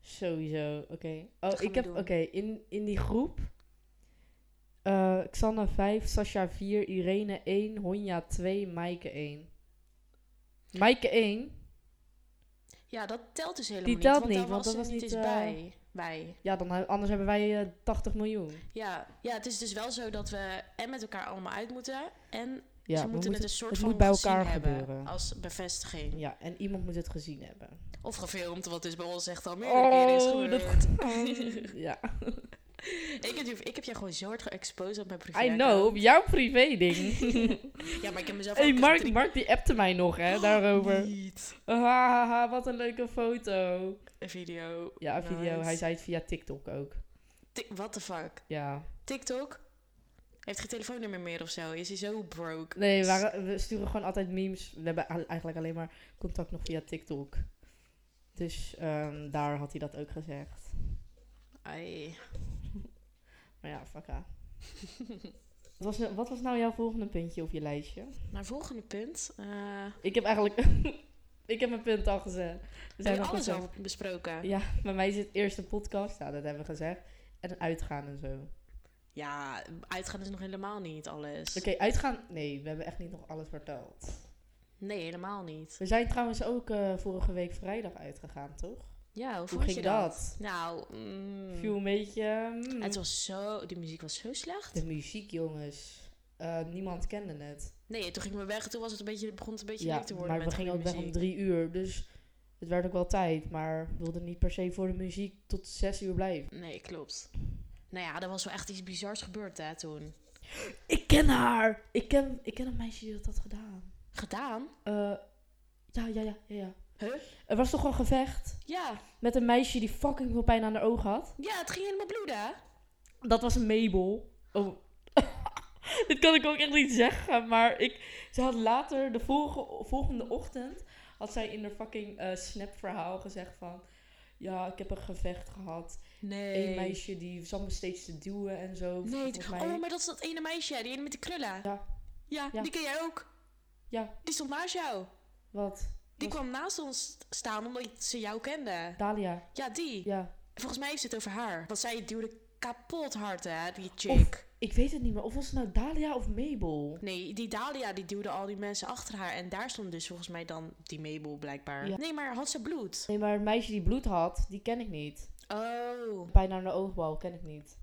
Speaker 3: Sowieso. Oké.
Speaker 1: Dat
Speaker 3: Oh,
Speaker 1: gaan
Speaker 3: ik
Speaker 1: we
Speaker 3: heb...
Speaker 1: doen.
Speaker 3: Oké, in, in die groep... eh Xanna 5, Sasha 4, Irene 1, Honja 2, Maaike 1. Maaike 1?
Speaker 1: Ja, dat telt dus helemaal
Speaker 3: Die
Speaker 1: niet.
Speaker 3: telt
Speaker 1: want
Speaker 3: niet,
Speaker 1: daar
Speaker 3: want
Speaker 1: was
Speaker 3: dat
Speaker 1: er
Speaker 3: was
Speaker 1: niet
Speaker 3: niet,
Speaker 1: eens
Speaker 3: eh,
Speaker 1: bij. bij.
Speaker 3: Ja, dan, he- anders hebben wij eh, 80 miljoen.
Speaker 1: Ja. ja, het is dus wel zo dat we en met elkaar allemaal uit moeten. En
Speaker 3: Ja,
Speaker 1: ze
Speaker 3: we
Speaker 1: moeten, het een soort
Speaker 3: het
Speaker 1: van
Speaker 3: moet bij
Speaker 1: gezien
Speaker 3: elkaar
Speaker 1: hebben
Speaker 3: gebeuren.
Speaker 1: Als bevestiging.
Speaker 3: Ja, en iemand moet het gezien hebben.
Speaker 1: Of gefilmd, wat dus bij ons echt al meerdere keren is
Speaker 3: Oh, dat-
Speaker 1: gebeurd.
Speaker 3: ja.
Speaker 1: ik, heb, je- ik heb jou gewoon zo hard geëxposed op mijn privé.
Speaker 3: I know, op jouw privé ding.
Speaker 1: Ja, maar ik heb mezelf
Speaker 3: hey,
Speaker 1: ook
Speaker 3: Mark,
Speaker 1: drie- Oh,
Speaker 3: Mark die appte mij nog, hè, daarover. Ah,
Speaker 1: Niet.
Speaker 3: Hahaha, wat een leuke foto.
Speaker 1: Een video.
Speaker 3: Ja, een video.
Speaker 1: Nice.
Speaker 3: Hij zei het via TikTok ook.
Speaker 1: Tik- What the fuck?
Speaker 3: Ja.
Speaker 1: TikTok? Heeft geen telefoonnummer meer of zo? Is hij zo broke?
Speaker 3: Nee, we, waren- we sturen gewoon altijd memes. We hebben al- eigenlijk alleen maar contact nog via TikTok. Dus ehm, daar had hij dat ook gezegd.
Speaker 1: Ai.
Speaker 3: Maar ja, fuck ja. Wat was, nou- wat was nou jouw volgende puntje op je lijstje?
Speaker 1: Mijn volgende punt. eh,
Speaker 3: Ik heb eigenlijk... ik heb mijn punt al gezet. We
Speaker 1: Heb
Speaker 3: zijn
Speaker 1: je
Speaker 3: al
Speaker 1: alles
Speaker 3: gezegd.
Speaker 1: al besproken?
Speaker 3: Ja, bij mij zit eerst een podcast. Nou, dat hebben we gezegd. En uitgaan en zo. Oké,
Speaker 1: Ja, uitgaan is nog helemaal niet alles.
Speaker 3: uitgaan... Nee, we hebben echt niet nog alles verteld.
Speaker 1: Nee, helemaal niet.
Speaker 3: We zijn trouwens ook eh, vorige week vrijdag uitgegaan, toch?
Speaker 1: Ja, hoe,
Speaker 3: Hoe
Speaker 1: vond
Speaker 3: ging
Speaker 1: je dat?
Speaker 3: dat?
Speaker 1: Nou, mm,
Speaker 3: Viel een beetje... mm.
Speaker 1: het was zo... De muziek was zo slecht.
Speaker 3: De muziek, jongens. Eh, niemand kende het.
Speaker 1: Nee, toen gingen we weg. Toen was het een beetje, begon het een beetje
Speaker 3: Ja,
Speaker 1: leuk te worden
Speaker 3: maar
Speaker 1: met
Speaker 3: we gingen ook
Speaker 1: goede
Speaker 3: weg om
Speaker 1: muziek.
Speaker 3: drie uur. Dus het werd ook wel tijd. Maar we wilden niet per se voor de muziek tot zes uur blijven.
Speaker 1: Nee, klopt. Nou ja, er was wel echt iets bizars gebeurd hè, toen.
Speaker 3: Ik ken haar! Ik ken, ik ken een meisje die dat had gedaan.
Speaker 1: Gedaan?
Speaker 3: Eh, ja, ja, ja, ja, ja.
Speaker 1: Huh?
Speaker 3: Er was toch een gevecht
Speaker 1: Ja.
Speaker 3: met een meisje die fucking veel pijn aan haar ogen had.
Speaker 1: Ja, het ging helemaal bloeden. hè?
Speaker 3: Dat was een Mabel. Oh. Dit kan ik ook echt niet zeggen, maar ik... Ze had later, de volge- volgende ochtend, had zij in haar fucking eh, snap-verhaal gezegd van... Ja, ik heb een gevecht gehad.
Speaker 1: Nee.
Speaker 3: Eén meisje die zat me steeds te duwen en zo.
Speaker 1: Nee,
Speaker 3: volgens mij.
Speaker 1: oh, maar dat is dat ene meisje. Die ene met de krullen.
Speaker 3: Ja.
Speaker 1: Ja,
Speaker 3: Ja.
Speaker 1: die ken jij ook.
Speaker 3: Ja.
Speaker 1: Die stond naast jou.
Speaker 3: Wat?
Speaker 1: Die
Speaker 3: Was-
Speaker 1: kwam naast ons staan omdat ze jou kende.
Speaker 3: Dalia.
Speaker 1: Ja, die.
Speaker 3: Ja.
Speaker 1: Volgens mij heeft het over haar. Want zij duwde kapot hard, hè, die chick.
Speaker 3: Ik weet het niet meer. Of was het nou Dalia of Mabel?
Speaker 1: Nee, die Dalia die duwde al die mensen achter haar. En daar stond dus volgens mij dan die Mabel blijkbaar.
Speaker 3: Ja.
Speaker 1: Nee, maar had ze bloed?
Speaker 3: Nee, maar het meisje die bloed had, die ken ik niet.
Speaker 1: Oh.
Speaker 3: Pijn aan de oogbal ken ik niet.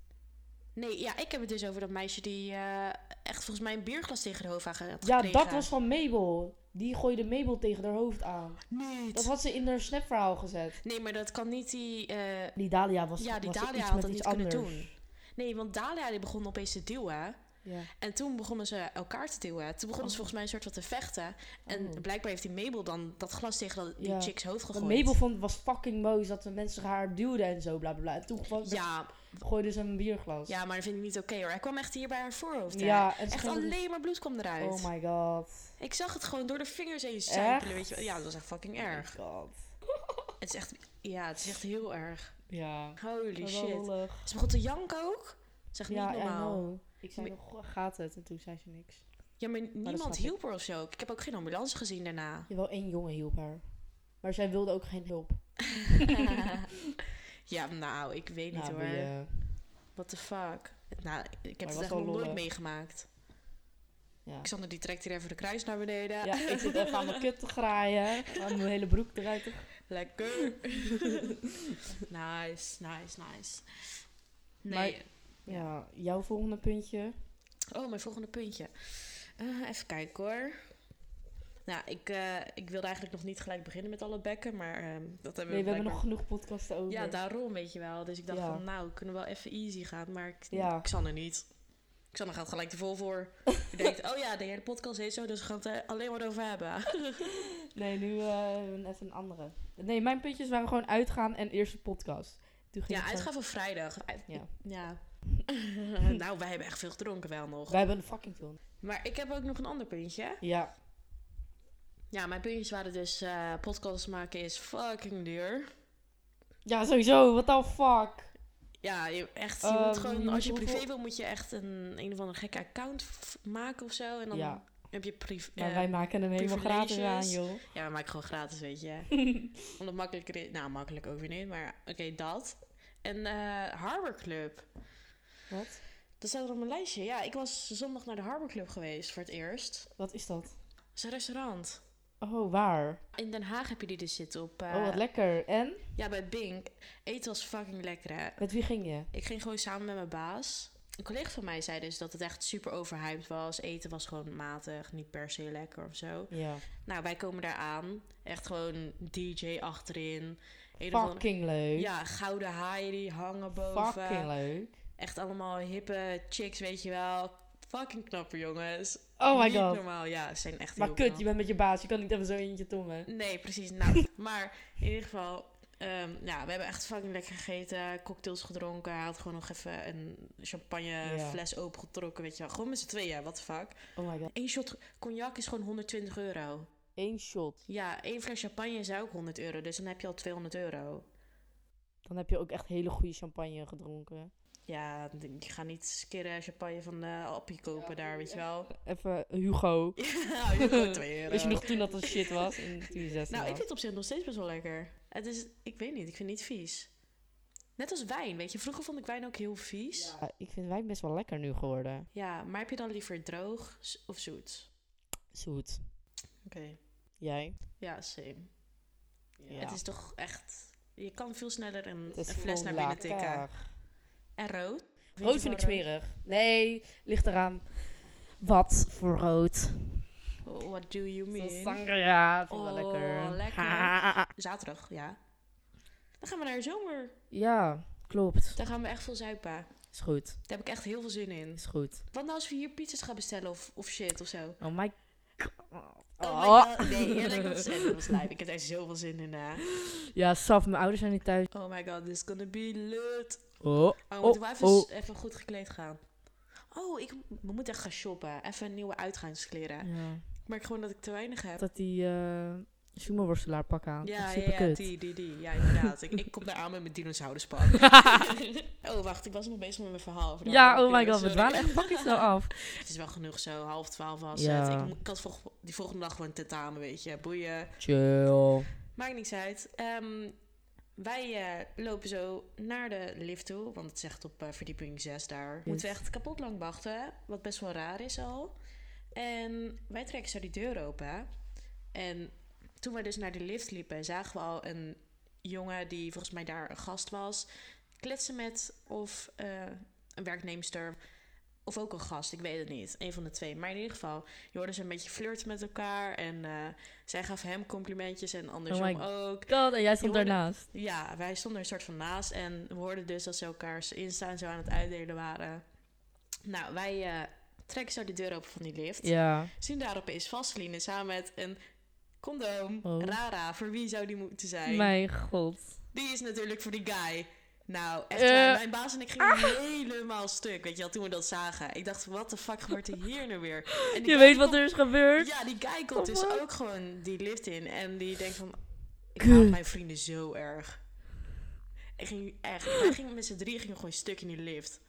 Speaker 1: Nee, ja, ik heb het dus over dat meisje die eh, echt volgens mij een bierglas tegen de hoofd aan had
Speaker 3: Ja,
Speaker 1: gekregen.
Speaker 3: dat was van Mabel. Die gooide Mabel tegen haar hoofd aan.
Speaker 1: Niet.
Speaker 3: Dat had ze in haar snapverhaal gezet.
Speaker 1: Nee, maar dat kan niet die... eh,
Speaker 3: Die Dalia was,
Speaker 1: ja, die
Speaker 3: was
Speaker 1: Dalia
Speaker 3: iets
Speaker 1: had
Speaker 3: met
Speaker 1: dat
Speaker 3: iets
Speaker 1: niet
Speaker 3: anders.
Speaker 1: kunnen doen. Nee, want Dalia die begon opeens te duwen.
Speaker 3: Ja.
Speaker 1: En toen begonnen ze elkaar te duwen. Toen begonnen ze volgens mij een soort van te vechten. En
Speaker 3: Oh.
Speaker 1: blijkbaar heeft die Mabel dan dat glas tegen dat, die
Speaker 3: Ja.
Speaker 1: chick's hoofd
Speaker 3: Wat
Speaker 1: gegooid.
Speaker 3: Mabel vond was fucking boos dat de mensen haar duwden en zo, bla bla bla. En toen gewoon,
Speaker 1: Ja,
Speaker 3: gooide ze een bierglas.
Speaker 1: ja, maar dat vind ik niet oké hoor. Hij kwam echt hier bij haar voorhoofd. hè.
Speaker 3: Ja, en ze
Speaker 1: echt
Speaker 3: ging-
Speaker 1: alleen maar bloed kwam eruit.
Speaker 3: Oh my god.
Speaker 1: Ik zag het gewoon door de vingers heen sijpelen,
Speaker 3: Echt?
Speaker 1: weet je wel. Ja, dat was echt fucking erg.
Speaker 3: Oh my god.
Speaker 1: Het is echt, ja, het is echt heel erg.
Speaker 3: Ja.
Speaker 1: Holy
Speaker 3: Maar wel
Speaker 1: shit.
Speaker 3: lollig.
Speaker 1: Ze begon te janken ook. Zeg
Speaker 3: Ja,
Speaker 1: niet
Speaker 3: I
Speaker 1: normaal.
Speaker 3: know. Ik zei nog, "Goh, gaat het? En toen zei ze niks.
Speaker 1: Ja, maar
Speaker 3: snap
Speaker 1: niemand
Speaker 3: ik.
Speaker 1: hielp haar of zo. Ik heb ook geen ambulance gezien daarna.
Speaker 3: Jawel, één jongen hielp haar. Maar zij wilde ook geen hulp.
Speaker 1: ja, nou, ik weet niet
Speaker 3: Nou,
Speaker 1: hoor.
Speaker 3: boeien.
Speaker 1: What the fuck? Nou, ik heb
Speaker 3: was
Speaker 1: het echt
Speaker 3: wel
Speaker 1: nog nooit
Speaker 3: lollig.
Speaker 1: meegemaakt.
Speaker 3: Ja.
Speaker 1: Xander die trekt hier even de kruis naar beneden.
Speaker 3: ja, ik zit even aan mijn kut te graaien. Aan mijn hele broek eruit te
Speaker 1: Lekker. nice, nice, nice. Nee.
Speaker 3: Maar- Ja, jouw volgende puntje.
Speaker 1: Oh, mijn volgende puntje. Eh, even kijken hoor. Nou, ik, eh, ik wilde eigenlijk nog niet gelijk beginnen met alle bekken, maar ehm, dat hebben
Speaker 3: Nee, we
Speaker 1: we
Speaker 3: hebben nog
Speaker 1: blijkbaar-
Speaker 3: genoeg podcasten over.
Speaker 1: Ja, daarom weet je wel. Dus ik dacht
Speaker 3: Ja.
Speaker 1: van, nou, we kunnen wel even easy gaan, maar ik,
Speaker 3: Ja.
Speaker 1: Xander niet. Xander gaat gelijk te vol voor. Die denkt, oh ja, de hele podcast heet zo, dus we gaan het eh, alleen maar over hebben.
Speaker 3: Nee, nu eh, even een andere. Nee, mijn puntjes waren gewoon uitgaan en eerste podcast. Toen ging
Speaker 1: ja,
Speaker 3: het
Speaker 1: uitgaan voor vrijdag. Uit-
Speaker 3: Ja.
Speaker 1: ja. nou, wij hebben echt veel gedronken wel nog.
Speaker 3: gewoon- Wij hebben een fucking ton.
Speaker 1: Maar ik heb ook nog een ander puntje.
Speaker 3: Ja.
Speaker 1: Ja, mijn puntjes waren dus, eh podcasts maken is fucking duur.
Speaker 3: Ja, sowieso. What the fuck?
Speaker 1: Ja, je, echt. Je
Speaker 3: Ehm,
Speaker 1: moet gewoon,
Speaker 3: je moet
Speaker 1: als je privé
Speaker 3: hoeveel-
Speaker 1: wil, moet je echt een, een of andere gekke account f- maken of zo. En dan
Speaker 3: Ja.
Speaker 1: heb je privé.
Speaker 3: Maar wij maken hem helemaal gratis aan,
Speaker 1: privileges.
Speaker 3: joh.
Speaker 1: Ja, we maken gewoon gratis, weet je. Omdat makkelijker is. Nou, makkelijk ook weer niet, maar oké, dat. En eh, Harbor Club.
Speaker 3: Wat?
Speaker 1: Dat staat er op mijn lijstje. Ja, ik was zondag naar de Harbor Club geweest voor het eerst.
Speaker 3: Wat is dat?
Speaker 1: Dat is een restaurant.
Speaker 3: Oh, waar?
Speaker 1: In Den Haag heb je die dus zitten op. eh,
Speaker 3: Oh, wat lekker. En?
Speaker 1: ja, bij Bink. Eten was fucking lekker, hè.
Speaker 3: Met wie ging je?
Speaker 1: Ik ging gewoon samen met mijn baas. Een collega van mij zei dus dat het echt super overhyped was. Eten was gewoon matig, niet per se lekker of zo.
Speaker 3: Ja.
Speaker 1: Nou, wij komen daar aan. Echt gewoon DJ achterin. Een of andere-
Speaker 3: Fucking leuk.
Speaker 1: Ja, gouden haaien die hangen boven.
Speaker 3: Fucking leuk.
Speaker 1: Echt allemaal hippe chicks, weet je wel. Fucking knappe jongens.
Speaker 3: Oh my
Speaker 1: Niet
Speaker 3: god.
Speaker 1: normaal, ja. Ze zijn echt
Speaker 3: Maar
Speaker 1: heel
Speaker 3: kut,
Speaker 1: knap.
Speaker 3: je bent met je baas. Je kan niet even zo in je tong, hè?
Speaker 1: Nee, precies. Nou, maar in ieder geval... ehm, ja, we hebben echt fucking lekker gegeten. Cocktails gedronken. Hij had gewoon nog even een champagnefles
Speaker 3: Ja.
Speaker 1: fles opengetrokken, weet je wel. Gewoon met z'n tweeën, what the fuck.
Speaker 3: Oh my god.
Speaker 1: Eén shot cognac is gewoon 120 euro.
Speaker 3: Eén shot.
Speaker 1: Ja, één fles champagne is ook 100 euro. Dus dan heb je al 200 euro.
Speaker 3: Dan heb je ook echt hele goede champagne gedronken.
Speaker 1: Ja, je gaat niet skirren champagne van de Appie kopen daar, weet je wel.
Speaker 3: Even eh, Hugo.
Speaker 1: Ja, je hebt ook twee euro.
Speaker 3: Weet je nog toen dat dat shit was? In 2016.
Speaker 1: Nou, ik vind het op zich nog steeds best wel lekker. Het is, ik weet niet, ik vind het niet vies. Net als wijn, weet je. Vroeger vond ik wijn ook heel vies. Ja,
Speaker 3: Ja, ik vind wijn best wel lekker nu geworden.
Speaker 1: maar heb je dan liever droog s- of zoet?
Speaker 3: Zoet.
Speaker 1: Oké.
Speaker 3: Jij?
Speaker 1: Ja, same.
Speaker 3: Ja.
Speaker 1: Het is toch echt... Je kan veel sneller een,
Speaker 3: Het
Speaker 1: een
Speaker 3: is
Speaker 1: fles naar
Speaker 3: gewoon
Speaker 1: binnen tikken.
Speaker 3: laag.
Speaker 1: En rood?
Speaker 3: Rood
Speaker 1: wel
Speaker 3: vind ik smerig. Nee, ligt eraan. Wat voor rood?
Speaker 1: Oh, What do you
Speaker 3: Zo'n
Speaker 1: mean?
Speaker 3: Sangria, vind ik
Speaker 1: Oh,
Speaker 3: wel lekker.
Speaker 1: lekker.
Speaker 3: Ha.
Speaker 1: Zaterdag, ja. Dan gaan we naar de zomer.
Speaker 3: Ja, klopt.
Speaker 1: Dan gaan we echt veel zuipen.
Speaker 3: Is goed,
Speaker 1: Daar heb ik echt heel veel zin in.
Speaker 3: is goed.
Speaker 1: Wat nou als we hier pizzas gaan bestellen of, of shit of zo?
Speaker 3: Oh my
Speaker 1: Oh, my
Speaker 3: Oh.
Speaker 1: god, nee, eerlijk, dat is echt dat is lijp. Ik heb daar zoveel zin in. hè.
Speaker 3: Ja, Saf, mijn ouders zijn niet thuis.
Speaker 1: Oh my god, this is gonna be lit.
Speaker 3: Oh,
Speaker 1: Oh, moeten we even,
Speaker 3: oh.
Speaker 1: even goed gekleed gaan? Oh, ik, we moeten echt gaan shoppen. Even nieuwe uitgaanskleren.
Speaker 3: ja.
Speaker 1: Ik merk gewoon dat ik te weinig heb.
Speaker 3: Dat die eh sumo-worstelaar pak aan.
Speaker 1: Ja, ja,
Speaker 3: super
Speaker 1: ja,
Speaker 3: kut.
Speaker 1: die, die, die. Ja, inderdaad. ik, ik kom daar aan met mijn dinosauruspak. oh, wacht, ik was nog bezig met mijn verhaal. over de
Speaker 3: Ja,
Speaker 1: Harbor
Speaker 3: oh my
Speaker 1: Club,
Speaker 3: god, we
Speaker 1: sorry.
Speaker 3: dwalen echt fucking snel af.
Speaker 1: Het is wel genoeg zo, half twaalf was
Speaker 3: Ja.
Speaker 1: het. Ik, mo- ik had volg- die volgende dag gewoon tentamen, weet je. Boeien.
Speaker 3: Chill.
Speaker 1: Maakt niks uit. Ehm, wij eh, lopen zo naar de lift toe, want het zegt op eh, verdieping 6 daar. Moeten we echt kapot lang wachten, wat best wel raar is al. En wij trekken zo die deur open. En toen wij dus naar de lift liepen, zagen we al een jongen die volgens mij daar een gast was, kletsen met of eh, een werknemster. Of ook een gast, ik weet het niet. Een van de twee. Maar in ieder geval, je hoorde ze een beetje flirten met elkaar. En eh, zij gaf hem complimentjes en andersom
Speaker 3: Oh my
Speaker 1: ook.
Speaker 3: God, en jij stond
Speaker 1: hoorde-
Speaker 3: daarnaast.
Speaker 1: Ja, wij stonden er een soort van naast. En we hoorden dus dat ze elkaars Insta en zo aan het uitdelen waren. Nou, wij eh, trekken zo de deur open van die lift.
Speaker 3: Ja.
Speaker 1: Zien daar opeens Vaseline samen met een condoom.
Speaker 3: Oh.
Speaker 1: Rara, voor wie zou die moeten zijn?
Speaker 3: Mijn god.
Speaker 1: Die is natuurlijk voor die guy. Nou, echt
Speaker 3: Eh.
Speaker 1: waar, Mijn baas en ik gingen helemaal stuk, weet je wel, toen we dat zagen. Ik dacht, wat de fuck gebeurt er hier nu weer? En die
Speaker 3: Je
Speaker 1: guy
Speaker 3: weet wat
Speaker 1: komt-
Speaker 3: er is gebeurd.
Speaker 1: Ja, die guy komt
Speaker 3: Oh,
Speaker 1: dus
Speaker 3: wat?
Speaker 1: ook gewoon die lift in. En die denkt van, ik
Speaker 3: Kut.
Speaker 1: haat mijn vrienden zo erg. Ik ging echt, wij gingen met z'n drie gingen gewoon stuk in die lift.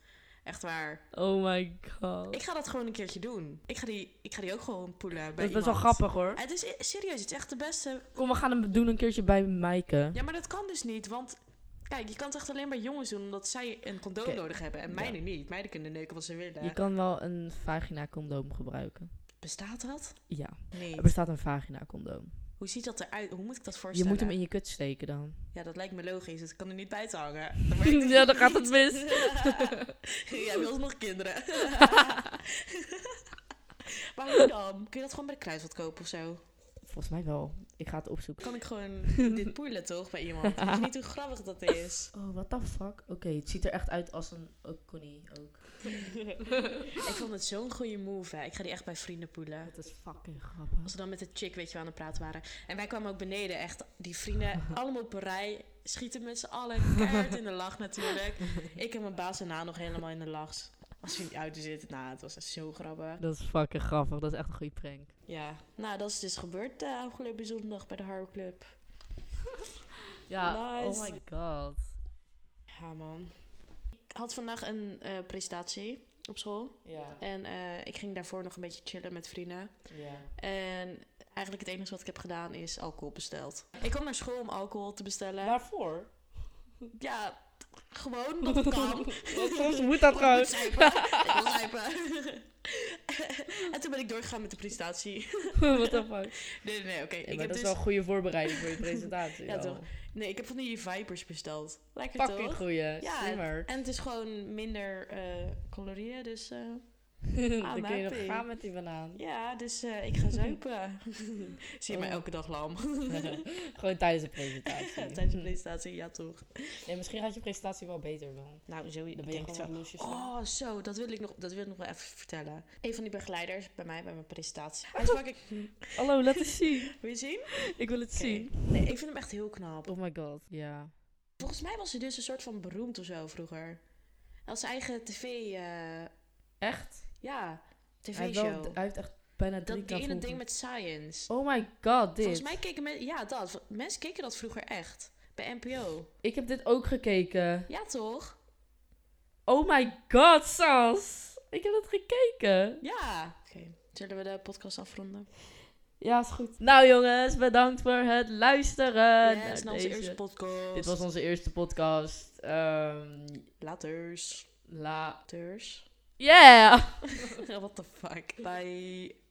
Speaker 1: Echt waar.
Speaker 3: Oh my god.
Speaker 1: Ik ga dat gewoon een keertje doen. Ik ga die, ik ga die ook gewoon poelen bij
Speaker 3: Dat is best wel
Speaker 1: iemand.
Speaker 3: grappig hoor.
Speaker 1: Het is serieus, het is echt de beste
Speaker 3: Kom, we gaan hem doen een keertje bij Maaike.
Speaker 1: Ja, maar dat kan dus niet, want kijk, je kan het echt alleen bij jongens doen omdat zij een condoom
Speaker 3: Oké.
Speaker 1: nodig hebben en
Speaker 3: Ja.
Speaker 1: meiden niet. Meiden kunnen neuken wat ze willen.
Speaker 3: Je kan wel een vagina condoom gebruiken.
Speaker 1: Bestaat dat?
Speaker 3: Ja,
Speaker 1: Nee.
Speaker 3: er bestaat een vagina condoom.
Speaker 1: Hoe ziet dat eruit? Hoe moet ik dat
Speaker 3: Je
Speaker 1: voorstellen?
Speaker 3: moet hem in je kut steken dan.
Speaker 1: Ja, dat lijkt me logisch. Het kan er niet buiten hangen. Dat werkt
Speaker 3: Ja, dan gaat het
Speaker 1: niet.
Speaker 3: mis.
Speaker 1: Jij wil nog kinderen. maar hoe dan? Kun je dat gewoon bij de kruidvat kopen of zo?
Speaker 3: Volgens mij wel. Ik ga het opzoeken.
Speaker 1: Kan ik gewoon dit poelen toch bij iemand? Ik weet niet hoe grappig dat is.
Speaker 3: Oh, what the fuck? Oké, het ziet er echt uit als een Connie ook.
Speaker 1: Ik vond het zo'n goede move. Hè. Ik ga die echt bij vrienden poelen.
Speaker 3: Dat is fucking grappig.
Speaker 1: Als we dan met de chick, weet je, wel, aan het praten waren. En wij kwamen ook beneden, echt die vrienden, allemaal op een rij. Schieten met z'n allen keihard in de lach natuurlijk. Ik en mijn baas daarna nog helemaal in de lach. Als we in die auto zitten. Nou, het was echt zo grappig.
Speaker 3: Dat is fucking grappig. Dat is echt een goede prank.
Speaker 1: Ja, nou dat is dus gebeurd eh, afgelopen zondag bij de Harrow Club.
Speaker 3: Ja,
Speaker 1: Nice.
Speaker 3: oh my god.
Speaker 1: Ja man. Ik had vandaag een eh, presentatie op school.
Speaker 3: Ja,
Speaker 1: En eh, ik ging daarvoor nog een beetje chillen met vrienden.
Speaker 3: ja.
Speaker 1: En eigenlijk het enige wat ik heb gedaan is alcohol besteld. Ik kwam naar school om alcohol te bestellen.
Speaker 3: Waarvoor?
Speaker 1: Ja, t- gewoon dat het kan.
Speaker 3: Soms moet dat gewoon.
Speaker 1: Lijpen, lijpen. en toen ben ik doorgegaan met de presentatie.
Speaker 3: What the fuck?
Speaker 1: Nee, nee, nee, oké.
Speaker 3: Ja,
Speaker 1: ik
Speaker 3: maar
Speaker 1: heb
Speaker 3: dat is
Speaker 1: dus...
Speaker 3: wel een goede voorbereiding voor je presentatie.
Speaker 1: Ja,
Speaker 3: al.
Speaker 1: toch? Nee, ik heb van die Vipers besteld. Lekker
Speaker 3: Fucking
Speaker 1: toch?
Speaker 3: goeie.
Speaker 1: Ja,
Speaker 3: Slimmer.
Speaker 1: En het is gewoon minder eh, calorieën, dus... eh,
Speaker 3: Dan kun je nog
Speaker 1: aanmerking.
Speaker 3: gaan met die banaan.
Speaker 1: ja, dus eh, ik ga zuipen. Zie je mij
Speaker 3: Oh.
Speaker 1: elke dag lam.
Speaker 3: gewoon tijdens de presentatie.
Speaker 1: Tijdens de presentatie, ja toch.
Speaker 3: Nee, misschien gaat je presentatie wel beter dan.
Speaker 1: Nou, zo
Speaker 3: Dan
Speaker 1: ik
Speaker 3: ben je
Speaker 1: denk het
Speaker 3: gewoon
Speaker 1: wel.
Speaker 3: wat losjes. dan.
Speaker 1: Oh, zo, dat wil ik nog, dat wil ik nog wel even vertellen. Een van die begeleiders bij mij, bij mijn presentatie. Hij sprak ik...
Speaker 3: Hallo, laat eens zien.
Speaker 1: Wil je zien?
Speaker 3: Ik wil het
Speaker 1: Oké.
Speaker 3: zien.
Speaker 1: Nee, ik vind hem echt heel knap.
Speaker 3: Oh my god, ja.
Speaker 1: Volgens mij was hij dus een soort van beroemd of zo vroeger. Als eigen tv, eh,
Speaker 3: Echt?
Speaker 1: ja,
Speaker 3: Hij heeft, wel,
Speaker 1: tv-show.
Speaker 3: hij heeft echt bijna drie
Speaker 1: Dat
Speaker 3: keer
Speaker 1: ene ding
Speaker 3: vroeger-
Speaker 1: met science.
Speaker 3: Oh my god, dit.
Speaker 1: Volgens mij keken mensen, ja dat, mensen keken dat vroeger echt. Bij NPO.
Speaker 3: Ik heb dit ook gekeken.
Speaker 1: Ja toch?
Speaker 3: Oh my god, Sas. Ik heb dat gekeken.
Speaker 1: Ja. Oké, zullen we de podcast afronden?
Speaker 3: Ja, is goed. Nou jongens, bedankt voor het luisteren.
Speaker 1: yes,
Speaker 3: naar
Speaker 1: naar onze
Speaker 3: deze.
Speaker 1: eerste podcast.
Speaker 3: Dit was onze eerste podcast. Ehm
Speaker 1: Laters.
Speaker 3: la...
Speaker 1: Laters.
Speaker 3: Yeah!
Speaker 1: What the fuck. Bye.